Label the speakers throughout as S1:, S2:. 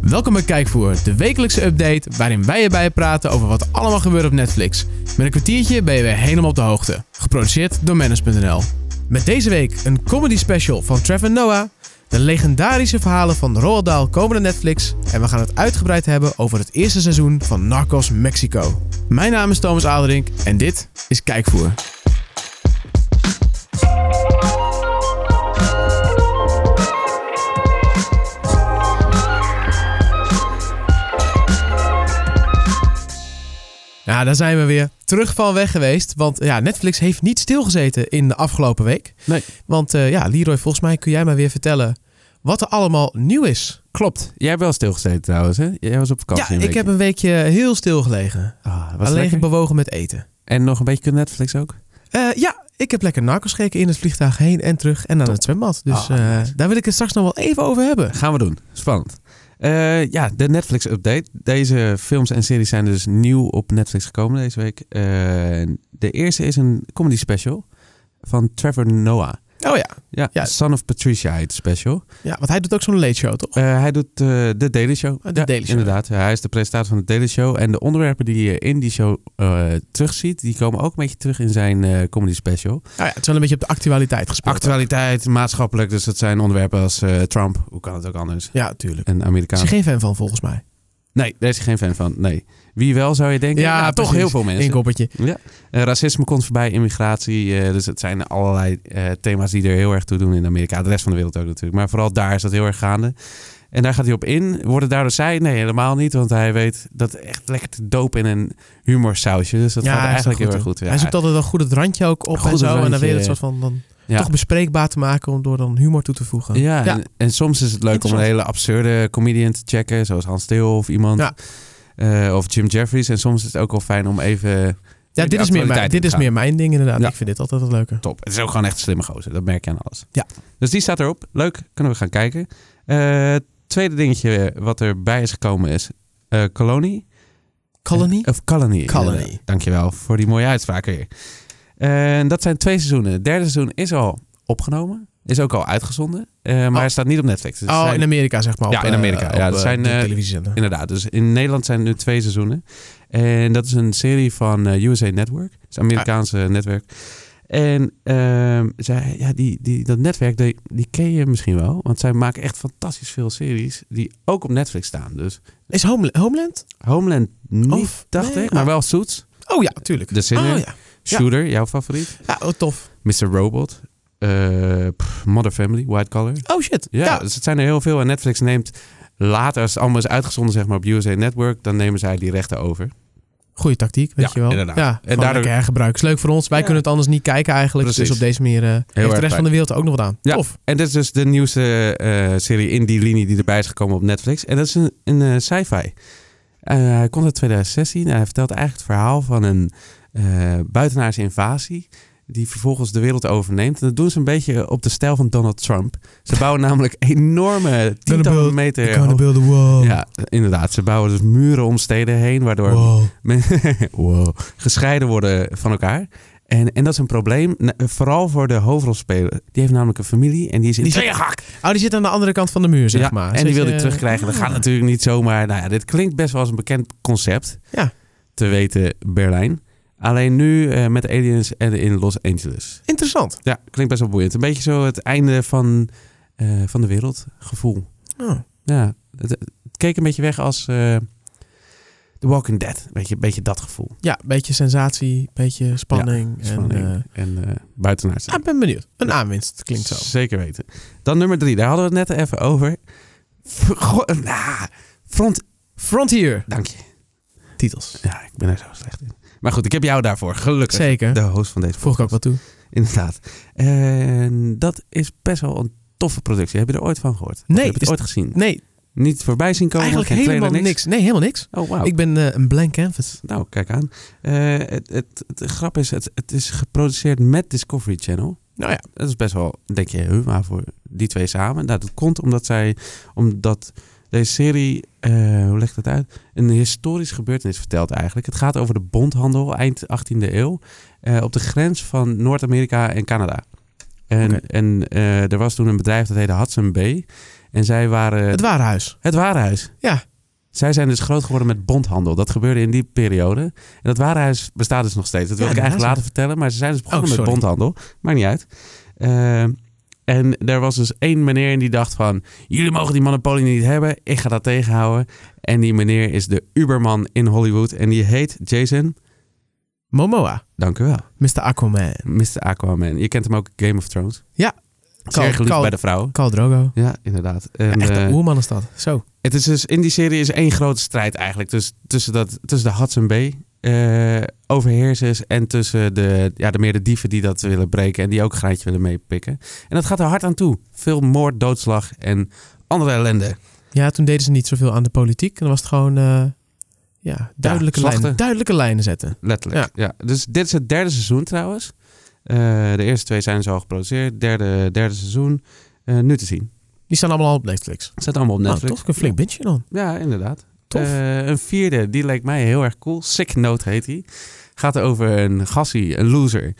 S1: Welkom bij Kijkvoer, de wekelijkse update waarin wij erbij praten over wat allemaal gebeurt op Netflix. Met een kwartiertje ben je weer helemaal op de hoogte. Geproduceerd door Manus.nl. Met deze week een comedy special van Trevor Noah. De legendarische verhalen van Roald Dahl komen naar Netflix. En we gaan het uitgebreid hebben over het eerste seizoen van Narcos Mexico. Mijn naam is Thomas Aderink en dit is Kijkvoer. Ja, daar zijn we weer terug van weg geweest. Want ja, Netflix heeft niet stilgezeten in de afgelopen week.
S2: Nee.
S1: Want eh, ja, Leroy, volgens mij kun jij mij weer vertellen wat er allemaal nieuw is.
S2: Klopt. Jij hebt wel stilgezeten trouwens, hè? Jij was op vakantie.
S1: ja,
S2: een
S1: ik
S2: weekje.
S1: heb een weekje heel stil gelegen.
S2: Ah, was het
S1: Alleen
S2: lekker?
S1: bewogen met eten.
S2: En nog een beetje kunnen Netflix ook?
S1: Eh, ja, ik heb lekker narcos gekeken in het vliegtuig heen en terug en aan
S2: Top.
S1: het zwembad. Dus
S2: Ah,
S1: eh,
S2: nice.
S1: daar wil ik het straks nog wel even over hebben.
S2: Gaan we doen. Spannend. Eh, ja, de Netflix-update. Deze films en series zijn dus nieuw op Netflix gekomen deze week. Eh, de eerste is een comedy special van Trevor Noah.
S1: Oh ja,
S2: Ja,
S1: Ja.
S2: Son of Patricia heet het special.
S1: ja want hij doet ook zo'n late show, toch?
S2: Eh, hij doet eh, de Daily Show.
S1: Ah, de
S2: Ja,
S1: Daily Show.
S2: Inderdaad, Ja, hij is de presentator van de Daily Show. En de onderwerpen die je in die show eh, terugziet, die komen ook een beetje terug in zijn eh, comedy special.
S1: Oh ja, het is wel een beetje op de actualiteit gespeeld.
S2: Actualiteit, maatschappelijk. Dus dat zijn onderwerpen als eh, Trump. Hoe kan het ook anders?
S1: Ja, tuurlijk.
S2: Een
S1: Is
S2: Amerikaan.
S1: hij geen fan van, volgens mij.
S2: Nee, daar is hij geen fan van. Nee. Wie wel zou je denken?
S1: Ja,
S2: Nou, toch
S1: precies.
S2: heel veel mensen.
S1: Eén koppertje.
S2: Eh, racisme komt voorbij, immigratie. eh, dus het zijn allerlei eh, thema's die er heel erg toe doen in Amerika. De rest van de wereld ook natuurlijk. Maar vooral daar is dat heel erg gaande. En daar gaat hij op in. Worden daardoor zij? Nee, helemaal niet. Want hij weet dat echt lekker te dopen in een humorsausje. Dus dat
S1: Ja,
S2: gaat
S1: hij is
S2: eigenlijk
S1: wel
S2: heel erg
S1: goed
S2: goed. Ja,
S1: hij zoekt altijd wel goed het randje ook op
S2: Goed
S1: en
S2: het
S1: zo. En dan
S2: randje,
S1: weer het
S2: ja.
S1: soort van dan
S2: Ja.
S1: toch bespreekbaar te maken om door dan humor toe te voegen.
S2: Ja, En, en soms is het leuk om een hele absurde comedian te checken, zoals Hans Steeuw of iemand.
S1: Ja.
S2: Eh, of Jim Jeffries. En soms is het ook wel fijn om even
S1: Ja, dit,
S2: de
S1: is meer, mijn,
S2: actualiteit
S1: dit is
S2: ingaan.
S1: meer mijn ding inderdaad.
S2: Ja.
S1: Ik vind dit altijd wat leuker.
S2: top. Het is ook gewoon echt een slimme gozer. Dat merk je aan alles.
S1: Ja.
S2: Dus die staat erop. Leuk. Kunnen we gaan kijken. Eh, tweede dingetje wat erbij is gekomen is eh Colony.
S1: Colony?
S2: Of Colony.
S1: Colony.
S2: inderdaad. Dankjewel voor die mooie uitspraak weer. Eh, En dat zijn twee seizoenen. Het derde seizoen is al opgenomen. Is ook al uitgezonden. Eh, maar
S1: Oh.
S2: hij staat niet op Netflix. Dus
S1: oh,
S2: zijn-
S1: in Amerika zeg maar.
S2: Ja,
S1: op,
S2: in
S1: eh,
S2: Amerika.
S1: op,
S2: Ja, dat
S1: eh,
S2: zijn,
S1: de
S2: eh,
S1: televisiezender.
S2: Inderdaad, dus in Nederland zijn er nu twee seizoenen. En dat is een serie van eh, USA Network. Het is een Amerikaanse
S1: Ah.
S2: netwerk. En ehm, zij, ja, die, die, dat netwerk, die, die ken je misschien wel. Want zij maken echt fantastisch veel series die ook op Netflix staan. Dus
S1: Is Homel- Homeland?
S2: Homeland niet,
S1: Of-
S2: dacht
S1: nee,
S2: ik, maar
S1: oh.
S2: wel Suits.
S1: Oh ja, tuurlijk.
S2: De Sinner.
S1: Oh ja. Ja.
S2: Shooter, jouw favoriet.
S1: ja oh, tof.
S2: Mr. Robot. Eh, pff, Mother Family, White Collar.
S1: Oh shit.
S2: Ja, dus het zijn er heel veel. En Netflix neemt later, als het allemaal is uitgezonden zeg maar, op USA Network, dan nemen zij die rechten over.
S1: Goede tactiek, weet
S2: Ja,
S1: je wel.
S2: inderdaad.
S1: Ja,
S2: En
S1: en
S2: daardoor-
S1: daardoor hergebruik. Is leuk voor ons. Wij
S2: Ja.
S1: kunnen het anders niet kijken eigenlijk. Dus
S2: Precies.
S1: op deze manier eh, heeft de
S2: erg
S1: rest van
S2: fijn.
S1: de wereld er ook nog wat aan.
S2: Ja.
S1: Tof.
S2: En dit is dus de nieuwste eh, serie in die linie die erbij is gekomen op Netflix. En dat is een, een eh, sci-fi. Eh, hij komt uit 2016 en hij vertelt eigenlijk het verhaal van een eh buitenaardse invasie. Die vervolgens de wereld overneemt. En dat doen ze een beetje op de stijl van Donald Trump. Ze bouwen namelijk enorme tientallen
S1: build-
S2: meter...
S1: We're gonna build a wall.
S2: Ja, inderdaad. Ze bouwen dus muren om steden heen. Waardoor
S1: Wall.
S2: men- wow, gescheiden worden van elkaar. En, en dat is een probleem, na- vooral voor de hoofdrolspeler. Die heeft namelijk een familie en die is in
S1: Die zit-
S2: tegenhak.
S1: Oh, die zit aan de andere kant van de muur, zeg
S2: Ja,
S1: maar.
S2: En
S1: Zit
S2: die wil
S1: je- Ah,
S2: hij terugkrijgen. Dat gaat natuurlijk niet zomaar. Nou ja, dit klinkt best wel als een bekend concept.
S1: Ja.
S2: Te weten Berlijn. Alleen nu eh, met aliens en in Los Angeles.
S1: Interessant.
S2: Ja, klinkt best wel boeiend. Een beetje zo het einde van, eh, van de wereld gevoel.
S1: Oh.
S2: Ja, het, het keek een beetje weg als eh, The Walking Dead. Weet je, een beetje dat gevoel.
S1: Ja, beetje sensatie, beetje spanning.
S2: Spanning
S1: En, eh,
S2: en, eh, buitenaardse.
S1: ah, ik ben benieuwd. Een aanwinst klinkt zo.
S2: Zeker weten. Dan nummer drie. Daar hadden we het net even over. F- go- nah, front.
S1: Frontier.
S2: Dank je.
S1: Titels.
S2: Ja, ik ben er zo slecht in. Maar goed, ik heb jou daarvoor. Gelukkig.
S1: Zeker.
S2: De host van deze
S1: Voeg ik ook wat toe.
S2: Inderdaad. En dat is best wel een toffe productie. Heb je er ooit van gehoord? Of
S1: Nee,
S2: Heb je
S1: is-
S2: het ooit gezien?
S1: Nee,
S2: Niet voorbij zien komen?
S1: eigenlijk
S2: geen trailer,
S1: helemaal niks. Nee, helemaal niks.
S2: Oh, wauw.
S1: Ik ben eh, een blank canvas.
S2: Nou, kijk aan. Eh, het, het, het, de grap is, het, het is geproduceerd met Discovery Channel.
S1: Nou ja.
S2: Dat is best wel, denk je, huh, maar voor die twee samen. Nou, dat komt omdat zij, omdat deze serie, eh, hoe leg ik dat uit? Een historisch gebeurtenis vertelt eigenlijk. Het gaat over de bondhandel eind 18e eeuw eh, op de grens van Noord-Amerika en Canada. En,
S1: Oké.
S2: en eh, er was toen een bedrijf dat heette Hudson Bay. En zij waren
S1: Het
S2: het,
S1: Warenhuis.
S2: warenhuis.
S1: Ja.
S2: Zij zijn dus groot geworden met bondhandel. Dat gebeurde in die periode. En dat warenhuis bestaat dus nog steeds. Dat wil
S1: Ja,
S2: ik eigenlijk
S1: inderdaad.
S2: later vertellen. Maar ze zijn dus begonnen
S1: Oh,
S2: met
S1: sorry.
S2: bondhandel. Maakt niet uit. Ehm, en er was dus één meneer en die dacht van... Jullie mogen die monopolie niet hebben. Ik ga dat tegenhouden. En die meneer is de Uberman in Hollywood. En die heet Jason...
S1: Momoa.
S2: Dank u wel.
S1: Mr. Aquaman.
S2: Mr. Aquaman. Je kent hem ook Game of Thrones.
S1: Ja.
S2: Zeer geliefd
S1: Khal-
S2: bij de vrouwen.
S1: Khal Drogo.
S2: Ja, inderdaad.
S1: Ja,
S2: En,
S1: echt een
S2: eh,
S1: oerman is dat. Zo.
S2: het is dus, in die serie is één grote strijd eigenlijk. Dus tussen, dat, tussen de Hudson Bay eh overheersers en tussen de, ja, de meer de dieven die dat willen breken en die ook een graantje willen meepikken. En dat gaat er hard aan toe. Veel moord, doodslag en andere ellende.
S1: Ja, toen deden ze niet zoveel aan de politiek. En dan was het gewoon eh, ja, duidelijke,
S2: slachten.
S1: lijnen, duidelijke lijnen zetten.
S2: Letterlijk. Ja. Dus dit is het derde seizoen trouwens. Eh, de eerste twee zijn dus al geproduceerd. Derde, derde seizoen. eh, nu te zien.
S1: Die staan allemaal al op Netflix.
S2: Het staat allemaal op
S1: Nou,
S2: Netflix.
S1: toch een flink bintje dan.
S2: Ja, inderdaad.
S1: Tof.
S2: Eh, een vierde, die leek mij heel erg cool. Sick Note heet hij. Gaat over een gassie, een loser.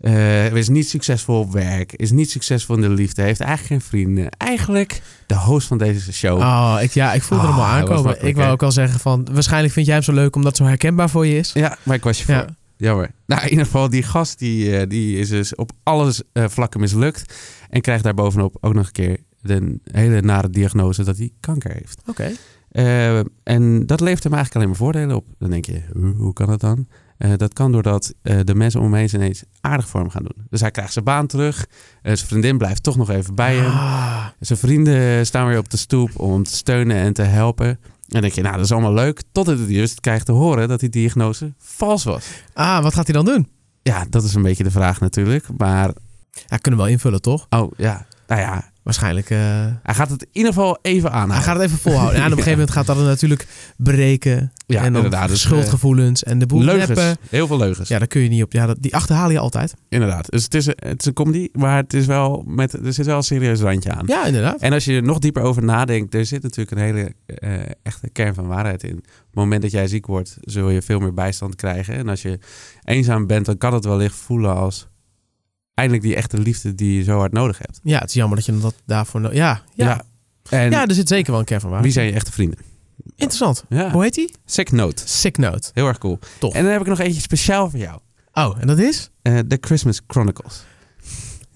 S2: Eh is niet succesvol op werk, is niet succesvol in de liefde, heeft eigenlijk geen vrienden. Eigenlijk de host van deze show.
S1: Oh, ik, ja, ik voelde
S2: Ah,
S1: hem al
S2: hij was
S1: aankomen.
S2: makkelijk,
S1: Ik wou
S2: hè?
S1: ook al zeggen van... waarschijnlijk vind jij hem zo leuk omdat het zo herkenbaar voor je is.
S2: Ja, maar ik was je voor.
S1: Ja.
S2: Jammer. Nou, in ieder geval, die gast die, eh, die is dus op alles eh, vlakken mislukt. En krijgt daarbovenop ook nog een keer de hele nare diagnose dat hij kanker heeft.
S1: Oké.
S2: Eh, en dat levert hem eigenlijk alleen maar voordelen op. Dan denk je, hoe, hoe kan dat dan? Eh, dat kan doordat eh, de mensen om hem heen ineens aardig voor hem gaan doen. Dus hij krijgt zijn baan terug. Eh, zijn vriendin blijft toch nog even bij hem.
S1: Ah,
S2: Zijn vrienden staan weer op de stoep om hem te steunen en te helpen. En dan denk je, nou dat is allemaal leuk. Totdat hij juist krijgt te horen dat die diagnose vals was.
S1: Ah, wat gaat hij dan doen?
S2: Ja, dat is een beetje de vraag natuurlijk. Maar,
S1: Ja, kunnen we wel invullen, toch?
S2: oh ja, nou ja.
S1: Waarschijnlijk... eh,
S2: Hij gaat het in ieder geval even aan.
S1: hij gaat het even volhouden. Ja, en op een gegeven moment gaat dat er natuurlijk breken.
S2: ja,
S1: en dan
S2: inderdaad. Dus, eh,
S1: schuldgevoelens en de boel
S2: leugens.
S1: neppen.
S2: Heel veel leugens.
S1: Ja, daar kun je niet op. Ja, dat, die achterhaal je altijd.
S2: Inderdaad. Dus het is, een- het is een comedy, maar het is wel met, er zit wel een serieus randje aan.
S1: Ja, inderdaad.
S2: En als je er nog dieper over nadenkt, er zit natuurlijk een hele eh, echte kern van waarheid in. Op het moment dat jij ziek wordt, zul je veel meer bijstand krijgen. En als je eenzaam bent, dan kan het wellicht voelen als eindelijk die echte liefde die je zo hard nodig hebt.
S1: Ja, het is jammer dat je dat daarvoor... no- ja, ja. ja.
S2: En
S1: er zit zeker wel een kern van waar.
S2: wie zijn je echte vrienden?
S1: Interessant.
S2: Ja.
S1: Hoe heet die?
S2: Sick Note.
S1: Sick Note.
S2: Heel erg cool.
S1: Tof.
S2: En dan heb ik nog eentje speciaal voor jou.
S1: Oh, en dat is?
S2: Eh, The Christmas Chronicles.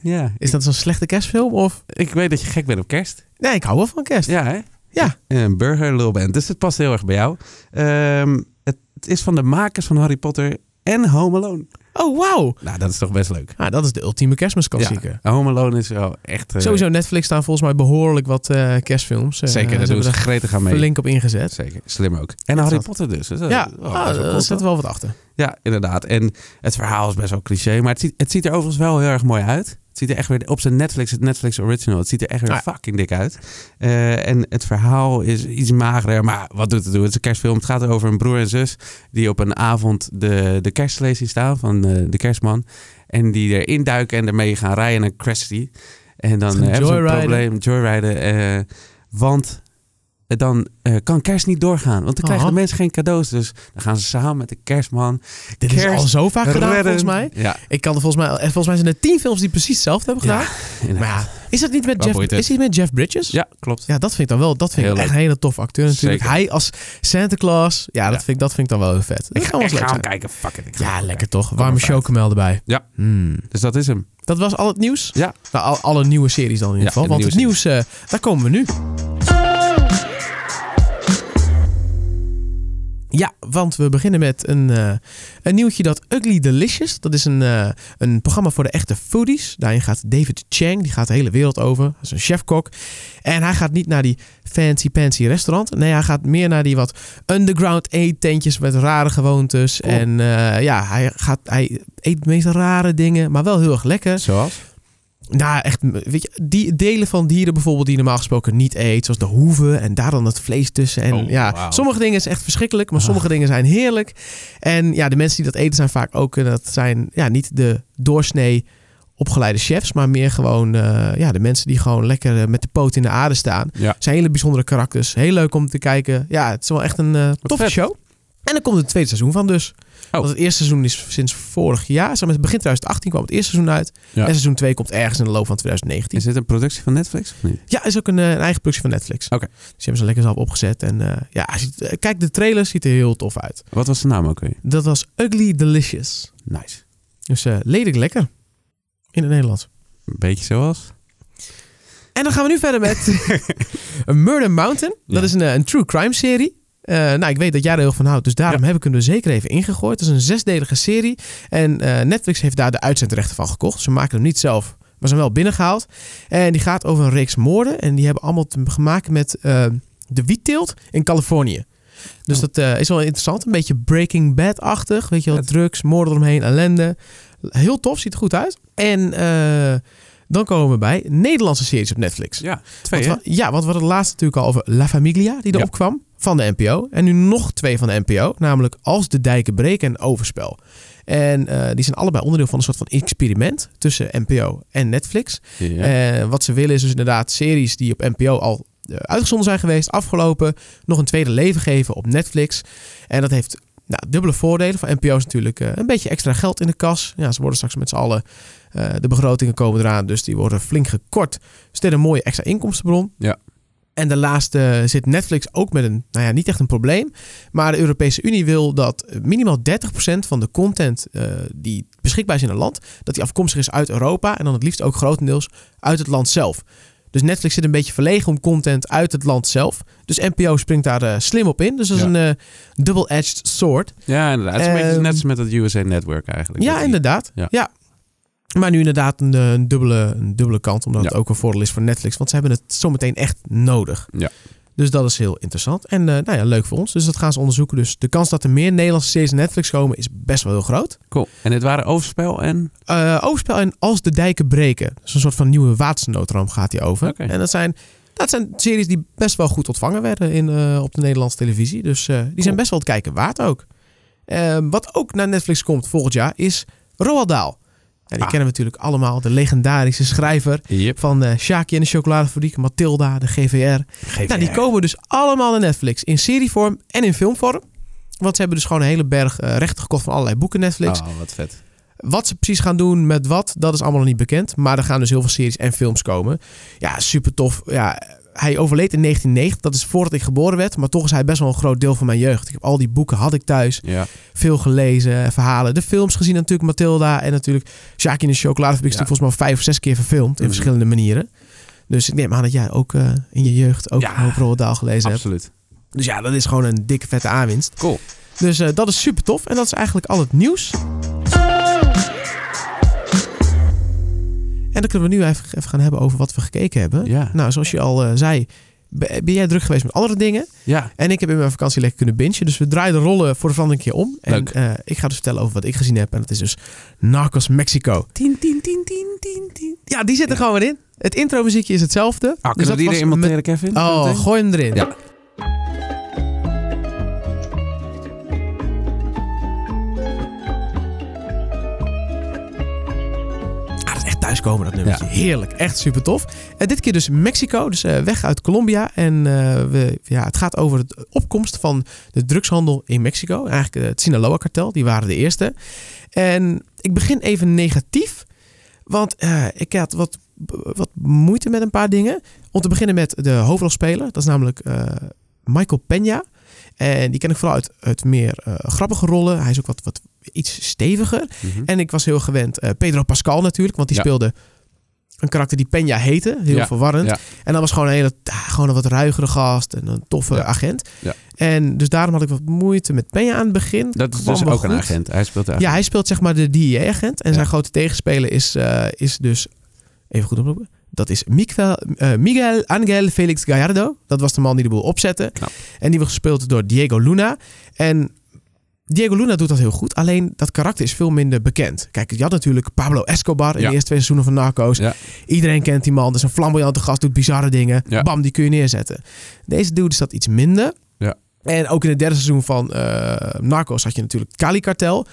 S2: Ja,
S1: Is dat zo'n slechte kerstfilm? Of?
S2: ik weet dat je gek bent op kerst.
S1: Nee, ik hou wel van kerst.
S2: Ja, hè?
S1: Ja.
S2: Een burger Lil Band. Dus het past heel erg bij jou. Ehm, het, het is van de makers van Harry Potter en Home Alone.
S1: Oh, wauw.
S2: Nou, dat is toch best leuk.
S1: Nou, dat is de ultieme kerstmisklassieker.
S2: Ja, Home Alone is wel echt... eh,
S1: Sowieso, Netflix staan volgens mij behoorlijk wat eh, kerstfilms. Eh,
S2: Zeker, daar
S1: ze
S2: doen ze
S1: hebben
S2: gretig aan
S1: er
S2: mee.
S1: flink op ingezet.
S2: Zeker, slim ook. En Harry
S1: Interessant.
S2: Potter dus. Dus dat-
S1: Ja,
S2: oh, dat
S1: ah,
S2: is wel
S1: daar
S2: cool,
S1: zit
S2: toch?
S1: wel wat achter.
S2: ja, inderdaad. En het verhaal is best wel cliché, maar het ziet, het ziet er overigens wel heel erg mooi uit. Het ziet er echt weer op zijn Netflix, het Netflix original. Het ziet er echt weer
S1: Ah.
S2: fucking dik uit. Eh, en het verhaal is iets magerder, maar wat doet het doen? Het is een kerstfilm. Het gaat over een broer en zus die op een avond de, de kerstslee zien staan van eh, de kerstman. En die erin duiken en ermee gaan rijden en dan crasht die. En dan
S1: Gaan
S2: eh, hebben ze een
S1: joyriden.
S2: probleem, joyriden. eh, want dan eh, kan kerst niet doorgaan. Want dan krijgen
S1: Aha.
S2: de mensen geen cadeaus. Dus dan gaan ze samen met de kerstman
S1: Dit is al zo vaak gedaan, volgens mij.
S2: Ja,
S1: Ik kan er volgens mij... eh, Volgens mij zijn er tien films die precies hetzelfde hebben gedaan. maar
S2: inderdaad.
S1: ja, is dat niet met
S2: Waar
S1: Jeff,
S2: boeit het?
S1: is die met Jeff Bridges?
S2: ja, klopt.
S1: Ja, dat vind ik dan wel. Dat vind
S2: Heel
S1: ik echt een hele toffe acteur natuurlijk.
S2: Zeker.
S1: Hij als Santa Claus. Ja, dat,
S2: Ja.
S1: Vind ik, dat vind ik dan wel heel vet. Dat kan
S2: Ik ga,
S1: wel
S2: ik
S1: eens
S2: ga
S1: leuk
S2: hem
S1: zijn.
S2: kijken. Fuck it. ik ga
S1: Ja,
S2: hem
S1: lekker
S2: kijken.
S1: toch.
S2: maar
S1: Warme
S2: uit.
S1: chocomel erbij.
S2: Ja.
S1: Mm.
S2: Dus dat is hem.
S1: Dat was al het nieuws?
S2: Ja.
S1: Nou, al, alle nieuwe series dan in ieder
S2: Ja,
S1: geval.
S2: de
S1: Want het
S2: nieuwe
S1: nieuws, eh, daar komen we nu. Ja, want we beginnen met een, eh, een nieuwtje dat Ugly Delicious. Dat is een, eh, een programma voor de echte foodies. Daarin gaat David Chang, die gaat de hele wereld over. Dat is een chefkok. En hij gaat niet naar die fancy fancy restaurant. Nee, hij gaat meer naar die wat underground eettentjes met rare gewoontes.
S2: Cool.
S1: En eh, ja, hij, gaat, hij eet de meest rare dingen, maar wel heel erg lekker.
S2: Zoals?
S1: Nou, echt, weet je, die delen van dieren bijvoorbeeld die je normaal gesproken niet eet, zoals de hoeven en daar dan het vlees tussen. En
S2: Oh,
S1: ja,
S2: wauw.
S1: sommige dingen is echt verschrikkelijk, maar
S2: Ah.
S1: sommige dingen zijn heerlijk. En ja, de mensen die dat eten zijn vaak ook, eh, dat zijn ja, niet de doorsnee opgeleide chefs, maar meer gewoon eh, ja, de mensen die gewoon lekker eh, met de poot in de aarde staan.
S2: Ja.
S1: Het zijn hele bijzondere karakters, heel leuk om te kijken. Ja, het is wel echt een eh, toffe
S2: vet.
S1: show. En er komt een tweede seizoen van dus.
S2: Oh.
S1: Want het eerste seizoen is sinds vorig jaar. Zeg maar, het begin 2018 kwam het eerste seizoen uit.
S2: Ja.
S1: En seizoen 2 komt ergens in de loop van 2019.
S2: Is dit een productie van Netflix of niet?
S1: Ja, is ook een, eh, een eigen productie van Netflix.
S2: Oké.
S1: Dus die hebben ze lekker zelf opgezet. En eh, ja, hij ziet- eh, kijk, de trailer ziet er heel tof uit.
S2: Wat was de naam ook weer?
S1: Dat was Ugly Delicious.
S2: Nice.
S1: Dus eh, lelijk lekker. In het Nederlands.
S2: Een beetje zoals?
S1: En dan gaan we nu verder met Murder Mountain. Dat
S2: Ja.
S1: is een, eh, een true crime serie. Eh, nou, ik weet dat jij er heel van houdt. Dus daarom heb ik hem er zeker even ingegooid. Het is een zesdelige serie. En eh, Netflix heeft daar de uitzendrechten van gekocht. Ze maken hem niet zelf, maar zijn wel binnengehaald. En die gaat over een reeks moorden. En die hebben allemaal te maken met eh, de wietteelt in Californië. Dus
S2: Oh.
S1: dat eh, is wel interessant. Een beetje Breaking Bad-achtig. Weet je wel,
S2: Vet.
S1: drugs, moorden eromheen, ellende. Heel tof, ziet er goed uit. En eh, dan komen we bij Nederlandse series op Netflix.
S2: Ja, twee hè?
S1: Want we- ja, want we hadden het laatst natuurlijk al over La Familia, die
S2: Ja.
S1: erop kwam van de NPO. En nu nog twee van de NPO, namelijk Als de Dijken Breken en Overspel. En eh, die zijn allebei onderdeel van een soort van experiment tussen NPO en Netflix.
S2: Ja.
S1: Eh, wat ze willen is dus inderdaad series die op NPO al eh, uitgezonden zijn geweest, afgelopen, nog een tweede leven geven op Netflix. En dat heeft nou, dubbele voordelen. Voor NPO's natuurlijk eh, een beetje extra geld in de kas. Ja, ze worden straks met z'n allen, eh, de begrotingen komen eraan, dus die worden flink gekort. Dus dit is een mooie extra inkomstenbron.
S2: Ja.
S1: En daarnaast eh, zit Netflix ook met een, nou ja, niet echt een probleem. Maar de Europese Unie wil dat minimaal 30% van de content eh, die beschikbaar is in een land, dat die afkomstig is uit Europa. En dan het liefst ook grotendeels uit het land zelf. Dus Netflix zit een beetje verlegen om content uit het land zelf. Dus NPO springt daar eh, slim op in. Dus dat is
S2: Ja.
S1: een eh, double-edged sword.
S2: ja, inderdaad. Het is een beetje
S1: Ehm,
S2: net als met dat USA Network eigenlijk.
S1: ja,
S2: Dat die-
S1: inderdaad. Ja.
S2: Ja.
S1: Maar nu inderdaad een, eh, een dubbele, een dubbele kant. Omdat
S2: Ja.
S1: het ook een voordeel is voor Netflix. Want ze hebben het zometeen echt nodig.
S2: Ja.
S1: Dus dat is heel interessant. En eh, nou ja, leuk voor ons. Dus dat gaan ze onderzoeken. Dus de kans dat er meer Nederlandse series naar Netflix komen is best wel heel groot.
S2: Cool. En dit waren Overspel en...
S1: Eh, overspel en Als de dijken breken. Dus een soort van nieuwe watersnoodramp gaat hij over.
S2: Oké.
S1: En dat zijn, dat zijn series die best wel goed ontvangen werden in, eh, op de Nederlandse televisie. Dus eh, die zijn
S2: Cool.
S1: best wel het kijken waard ook. Eh, wat ook naar Netflix komt volgend jaar is Roald Dahl. Ja, die
S2: Ah.
S1: kennen we natuurlijk allemaal. De legendarische schrijver
S2: Yep.
S1: van eh Sjaakje en de Chocoladefabriek, Matilda, de GVR. Nou, die komen dus allemaal naar Netflix. In serievorm en in filmvorm. Want ze hebben dus gewoon een hele berg eh, rechten gekocht van allerlei boeken Netflix.
S2: Oh, wat vet.
S1: Wat ze precies gaan doen met wat, dat is allemaal nog niet bekend. Maar er gaan dus heel veel series en films komen. Ja, super tof. Ja, hij overleed in 1990. Dat is voordat ik geboren werd. Maar toch is hij best wel een groot deel van mijn jeugd. Ik heb al die boeken had ik thuis.
S2: Ja.
S1: Veel gelezen, eh, verhalen. De films gezien natuurlijk. Matilda en natuurlijk Sjaak in de chocoladefabriek. is
S2: Ja.
S1: natuurlijk volgens mij al vijf of zes keer verfilmd. In
S2: Mhm.
S1: verschillende manieren. Dus ik neem aan dat jij ook eh, in je jeugd ook
S2: Ja,
S1: een hoop Roald Dahl gelezen hebt.
S2: Absoluut.
S1: Dus ja, dat is gewoon een dikke vette aanwinst.
S2: Cool.
S1: Dus eh, dat is super tof. En dat is eigenlijk al het nieuws. En dan kunnen we nu even, even gaan hebben over wat we gekeken hebben.
S2: Ja.
S1: Nou, zoals je al eh, zei, be- ben jij druk geweest met andere dingen.
S2: Ja.
S1: En ik heb in mijn vakantie lekker kunnen bingen. Dus we draaien de rollen voor de verandering een keer om. En
S2: Leuk.
S1: eh, ik ga dus vertellen over wat ik gezien heb. En dat is dus Narcos Mexico.
S2: Tien, tien, tien, tien, tien, tien.
S1: Ja, die zit er
S2: Ja.
S1: gewoon weer in. Het intromuziekje is hetzelfde.
S2: Ah,
S1: Dus
S2: kunnen we die
S1: was
S2: er iemand
S1: met-
S2: tegen Kevin?
S1: Oh, gooi hem erin.
S2: Ja.
S1: Ah, dat is echt thuiskomen, dat nummertje.
S2: Ja.
S1: Heerlijk, echt super tof. En dit keer dus Mexico, dus eh, weg uit Colombia. En eh, we, ja, het gaat over de opkomst van de drugshandel in Mexico. Eigenlijk eh, het Sinaloa-kartel, die waren de eerste. En ik begin even negatief, want eh, ik had wat, wat moeite met een paar dingen. Om te beginnen met de hoofdrolspeler, dat is namelijk eh, Michael Peña. En die ken ik vooral uit, uit meer eh, grappige rollen. Hij is ook wat, wat iets steviger.
S2: Mhm.
S1: En ik was heel gewend. eh, Pedro Pascal natuurlijk, want die
S2: Ja.
S1: speelde een karakter die Peña heette. Heel
S2: Ja,
S1: verwarrend.
S2: ja.
S1: En dat was gewoon een hele, ah, gewoon een wat ruigere gast en een toffe
S2: Ja.
S1: agent.
S2: Ja.
S1: En dus daarom had ik wat moeite met Peña aan het begin.
S2: Dat is
S1: Kwam
S2: dus
S1: wel
S2: ook een
S1: goed.
S2: agent. Hij speelt de agent.
S1: Ja, hij speelt zeg maar de DEA-agent. En
S2: Ja.
S1: zijn grote tegenspeler is, eh, is dus... Even goed opzoeken. Dat is Miguel, eh, Miguel Angel Felix Gallardo. Dat was de man die de boel opzette.
S2: Knap.
S1: En die werd gespeeld door Diego Luna. En Diego Luna doet dat heel goed. Alleen dat karakter is veel minder bekend. Kijk, je had natuurlijk Pablo Escobar in
S2: Ja.
S1: de eerste twee seizoenen van Narcos.
S2: Ja.
S1: Iedereen kent die man. Dat is een flamboyante gast, doet bizarre dingen.
S2: Ja.
S1: Bam, die kun je neerzetten. Deze dude is dat iets minder.
S2: Ja.
S1: En ook in het derde seizoen van eh, Narcos had je natuurlijk Cali Cartel.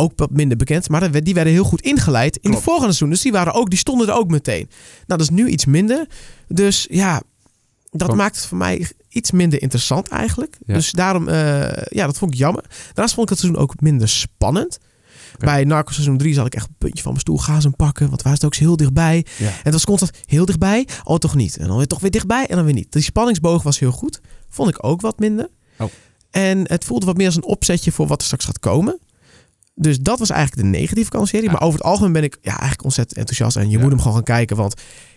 S1: Ook wat minder bekend. Maar dat- die werden heel goed ingeleid in het
S2: Klopt.
S1: volgende seizoen. Dus die, waren ook, die stonden er ook meteen. Nou, dat is nu iets minder. Dus ja, dat
S2: Kom.
S1: maakt het voor mij iets minder interessant eigenlijk.
S2: Ja.
S1: Dus daarom, eh, ja, dat vond ik jammer. Daarnaast vond ik het seizoen ook minder spannend.
S2: Oké.
S1: Bij Narcos seizoen 3 zal ik echt een puntje van mijn stoel gaan ze hem pakken. Want waar is het ook zo heel dichtbij.
S2: Ja.
S1: En het was constant heel dichtbij. Oh, toch niet. En dan weer toch weer dichtbij en dan weer niet. Die spanningsboog was heel goed. Vond ik ook wat minder.
S2: Oh.
S1: En het voelde wat meer als een opzetje voor wat er straks gaat komen. Dus dat was eigenlijk de negatieve kant van de serie.
S2: Ja.
S1: Maar over het algemeen ben ik ja, eigenlijk ontzettend enthousiast. En je
S2: Ja.
S1: moet hem gewoon gaan kijken. Want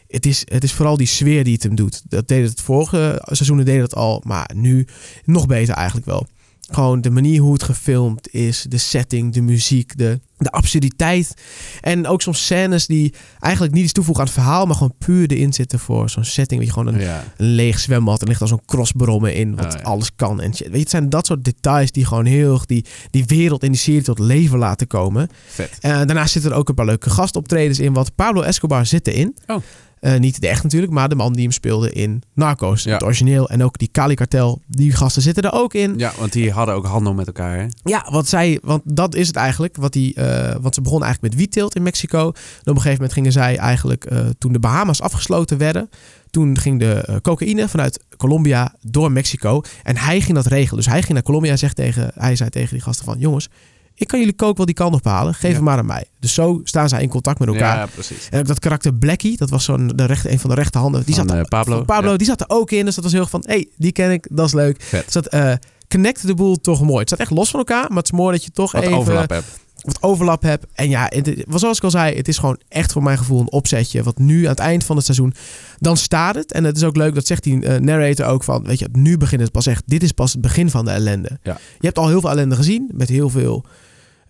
S1: het is, het is vooral die sfeer die het hem doet. Dat deed het vorige eh, seizoenen deed het al. Maar nu nog beter eigenlijk wel. Gewoon de manier hoe het gefilmd is. De setting, de muziek, de, de absurditeit. En ook soms scènes die eigenlijk niet iets toevoegen aan het verhaal. Maar gewoon puur erin zitten voor zo'n setting. Weet je, gewoon een
S2: Ja.
S1: een leeg zwembad. Er ligt al zo'n crossbrommen in, wat
S2: Ah, ja.
S1: alles kan. En shit. Weet je, het zijn dat soort details die gewoon heel erg die, die wereld en die serie tot leven laten komen.
S2: Vet.
S1: Eh, daarnaast zitten er ook een paar leuke gastoptredens in, want Pablo Escobar zit erin.
S2: Oh.
S1: Eh, niet de echt natuurlijk, maar de man die hem speelde in Narcos,
S2: Ja.
S1: het origineel. En ook die Cali Cartel, die gasten zitten er ook in.
S2: Ja, want die hadden ook handel met elkaar. Hè?
S1: Ja, want, zij, want dat is het eigenlijk. Wat die, eh, want ze begonnen eigenlijk met wietteelt in Mexico. En op een gegeven moment gingen zij eigenlijk, eh, toen de Bahamas afgesloten werden... toen ging de eh, cocaïne vanuit Colombia door Mexico. En hij ging dat regelen. Dus hij ging naar Colombia en zegt tegen, hij zei tegen die gasten van... jongens, ik kan jullie kook wel die kant op halen. Geef
S2: Ja.
S1: hem maar aan mij. Dus zo staan zij in contact met elkaar.
S2: Ja, precies.
S1: En ook dat karakter Blackie, dat was zo'n de rechter, een van de rechterhanden. Die
S2: Van,
S1: zat er,
S2: eh, Pablo.
S1: van Pablo, die zat er ook in. Dus dat was heel erg van, hé, hey, die ken ik, dat is leuk.
S2: Vet.
S1: Dus dat eh, connect de boel toch mooi. Het staat echt los van elkaar, maar het is mooi dat je toch
S2: Wat
S1: even
S2: overlap hebt.
S1: wat overlap hebt. En ja, het, was zoals ik al zei, het is gewoon echt voor mijn gevoel een opzetje. Want nu, aan het eind van het seizoen, dan staat het. En het is ook leuk, dat zegt die eh, narrator ook van, weet je, nu begint het pas echt. Dit is pas het begin van de ellende.
S2: Ja.
S1: Je hebt al heel veel ellende gezien, met heel veel...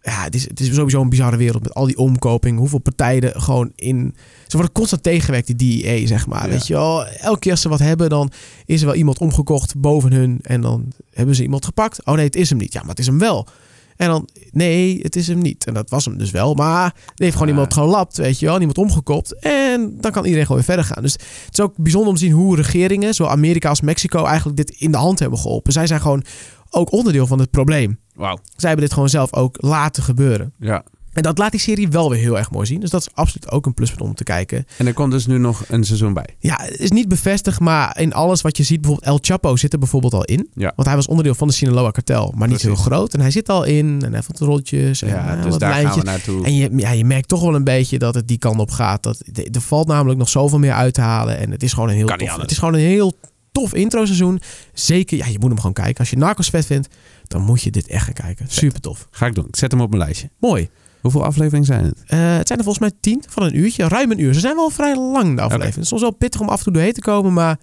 S1: Ja, het is, het is sowieso een bizarre wereld met al die omkoping. Hoeveel partijen gewoon in... Ze worden constant tegengewerkt, die DEA, zeg maar.
S2: Ja.
S1: Weet je wel, elke keer als ze wat hebben, dan is er wel iemand omgekocht boven hun. En dan hebben ze iemand gepakt. Oh nee, het is hem niet. Ja, maar het is hem wel. En dan, nee, het is hem niet. En dat was hem dus wel. Maar er heeft gewoon
S2: Ja.
S1: iemand gelapt, weet je wel. Iemand omgekopt. En dan kan iedereen gewoon weer verder gaan. Dus het is ook bijzonder om te zien hoe regeringen, zowel Amerika als Mexico, eigenlijk dit in de hand hebben geholpen. Zij zijn gewoon ook onderdeel van het probleem.
S2: Wauw.
S1: Zij hebben dit gewoon zelf ook laten gebeuren.
S2: Ja.
S1: En dat laat die serie wel weer heel erg mooi zien. Dus dat is absoluut ook een pluspunt om te kijken.
S2: En er komt dus nu nog een seizoen bij.
S1: Ja, het is niet bevestigd, maar in alles wat je ziet, bijvoorbeeld El Chapo zit er bijvoorbeeld al in.
S2: Ja.
S1: Want hij was onderdeel van de Sinaloa-kartel, maar niet heel
S2: Precies.
S1: groot. En hij zit al in en hij vond rolletjes en
S2: Ja,
S1: eh,
S2: dus
S1: wat
S2: daar gaan we
S1: lijntjes.
S2: naartoe.
S1: En je, ja, je merkt toch wel een beetje dat het die kant op gaat. Dat, de- er valt namelijk nog zoveel meer uit te halen. En het is gewoon een heel,
S2: Kan niet
S1: tof, het
S2: anders.
S1: is gewoon een heel tof intro-seizoen. Zeker, ja, je moet hem gewoon kijken. Als je Narcos vet vindt, dan moet je dit echt gaan kijken. Super tof.
S2: Ga ik doen. Ik zet hem op mijn lijstje.
S1: Mooi.
S2: Hoeveel afleveringen zijn het?
S1: Eh, het zijn er volgens mij tien van een uurtje, ruim een uur. Ze zijn wel vrij lang, de aflevering. Het is soms wel pittig om af en toe doorheen te komen, maar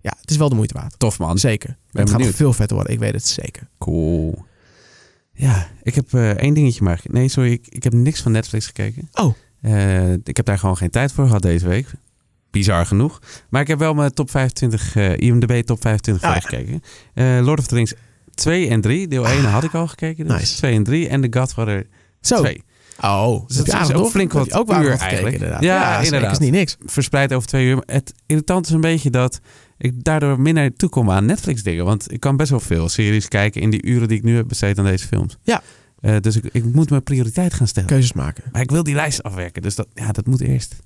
S1: ja, het is wel de moeite waard.
S2: Tof man.
S1: Zeker. het gaat
S2: benieuwd.
S1: nog veel vetter worden, ik weet het zeker.
S2: Cool. Ja, ik heb eh, één dingetje maar. ge- Nee, sorry, ik, ik heb niks van Netflix gekeken.
S1: Oh.
S2: Eh, ik heb daar gewoon geen tijd voor gehad deze week. Bizar genoeg. Maar ik heb wel mijn top 25, eh, IMDb top 25
S1: Ah,
S2: films gekeken. Eh, Lord of the Rings 2 en 3. Deel 1 had ik al gekeken. Dus
S1: Ah, nice.
S2: 2 en 3. En The Godfather
S1: Zo.
S2: 2.
S1: Oh,
S2: dat is ook flink wat
S1: ook wel
S2: uur
S1: wat gekeken,
S2: eigenlijk.
S1: inderdaad.
S2: Ja,
S1: zeker,
S2: inderdaad.
S1: is niet niks.
S2: verspreid over twee uur. Het irritant is een beetje dat ik daardoor minder toe kom aan Netflix dingen. Want ik kan best wel veel series kijken in die uren die ik nu heb besteed aan deze films.
S1: Ja.
S2: Eh, dus ik, ik moet mijn prioriteit gaan stellen.
S1: Keuzes maken.
S2: Maar ik wil die lijst afwerken, dus dat, ja, dat moet eerst.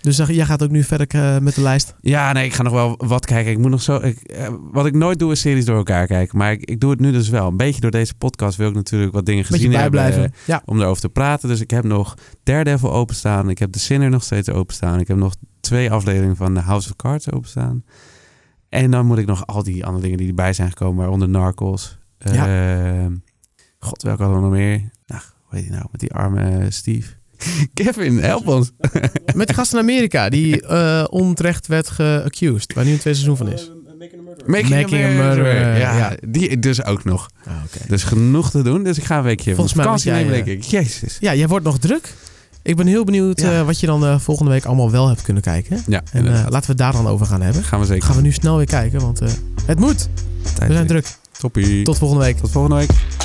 S1: Dus zeg, jij gaat ook nu verder eh, met de lijst.
S2: Ja, nee, ik ga nog wel wat kijken. Ik moet nog zo, ik, eh, wat ik nooit doe is series door elkaar kijken. Maar ik, ik doe het nu dus wel. Een beetje door deze podcast wil ik natuurlijk wat dingen
S1: Beetje
S2: gezien
S1: bijblijven.
S2: hebben.
S1: Ja.
S2: om daarover te praten. Dus ik heb nog Daredevil openstaan. Ik heb The Sinner nog steeds openstaan. Ik heb nog twee afleveringen van The House of Cards openstaan. En dan moet ik nog al die andere dingen die erbij zijn gekomen, waaronder Narcos.
S1: Ja.
S2: Ehm, God, welke hadden we nog meer? Nou, hoe heet die nou? Met die arme eh, Steve. Kevin, help ons.
S1: Met de gast in Amerika, die eh, onterecht werd geaccused. Waar nu een tweede seizoen van is. Making a Murderer,
S2: Ja,
S1: ja.
S2: die dus ook nog.
S1: Ah, oké.
S2: Dus genoeg te doen. Dus ik ga een weekje
S1: Volgens
S2: van
S1: mij was
S2: vakantie nemen,
S1: jij, eh,
S2: denk ik. Jezus.
S1: Ja, jij wordt nog druk. Ik ben heel benieuwd
S2: Ja.
S1: eh, wat je dan eh, volgende week allemaal wel hebt kunnen kijken.
S2: Ja,
S1: En eh,
S2: inderdaad.
S1: laten we het daar dan over gaan hebben.
S2: gaan we zeker.
S1: Gaan we nu snel weer kijken, want eh, het moet.
S2: Tijd
S1: We zijn
S2: weer.
S1: druk.
S2: Toppie.
S1: Tot volgende week.
S2: Tot volgende week.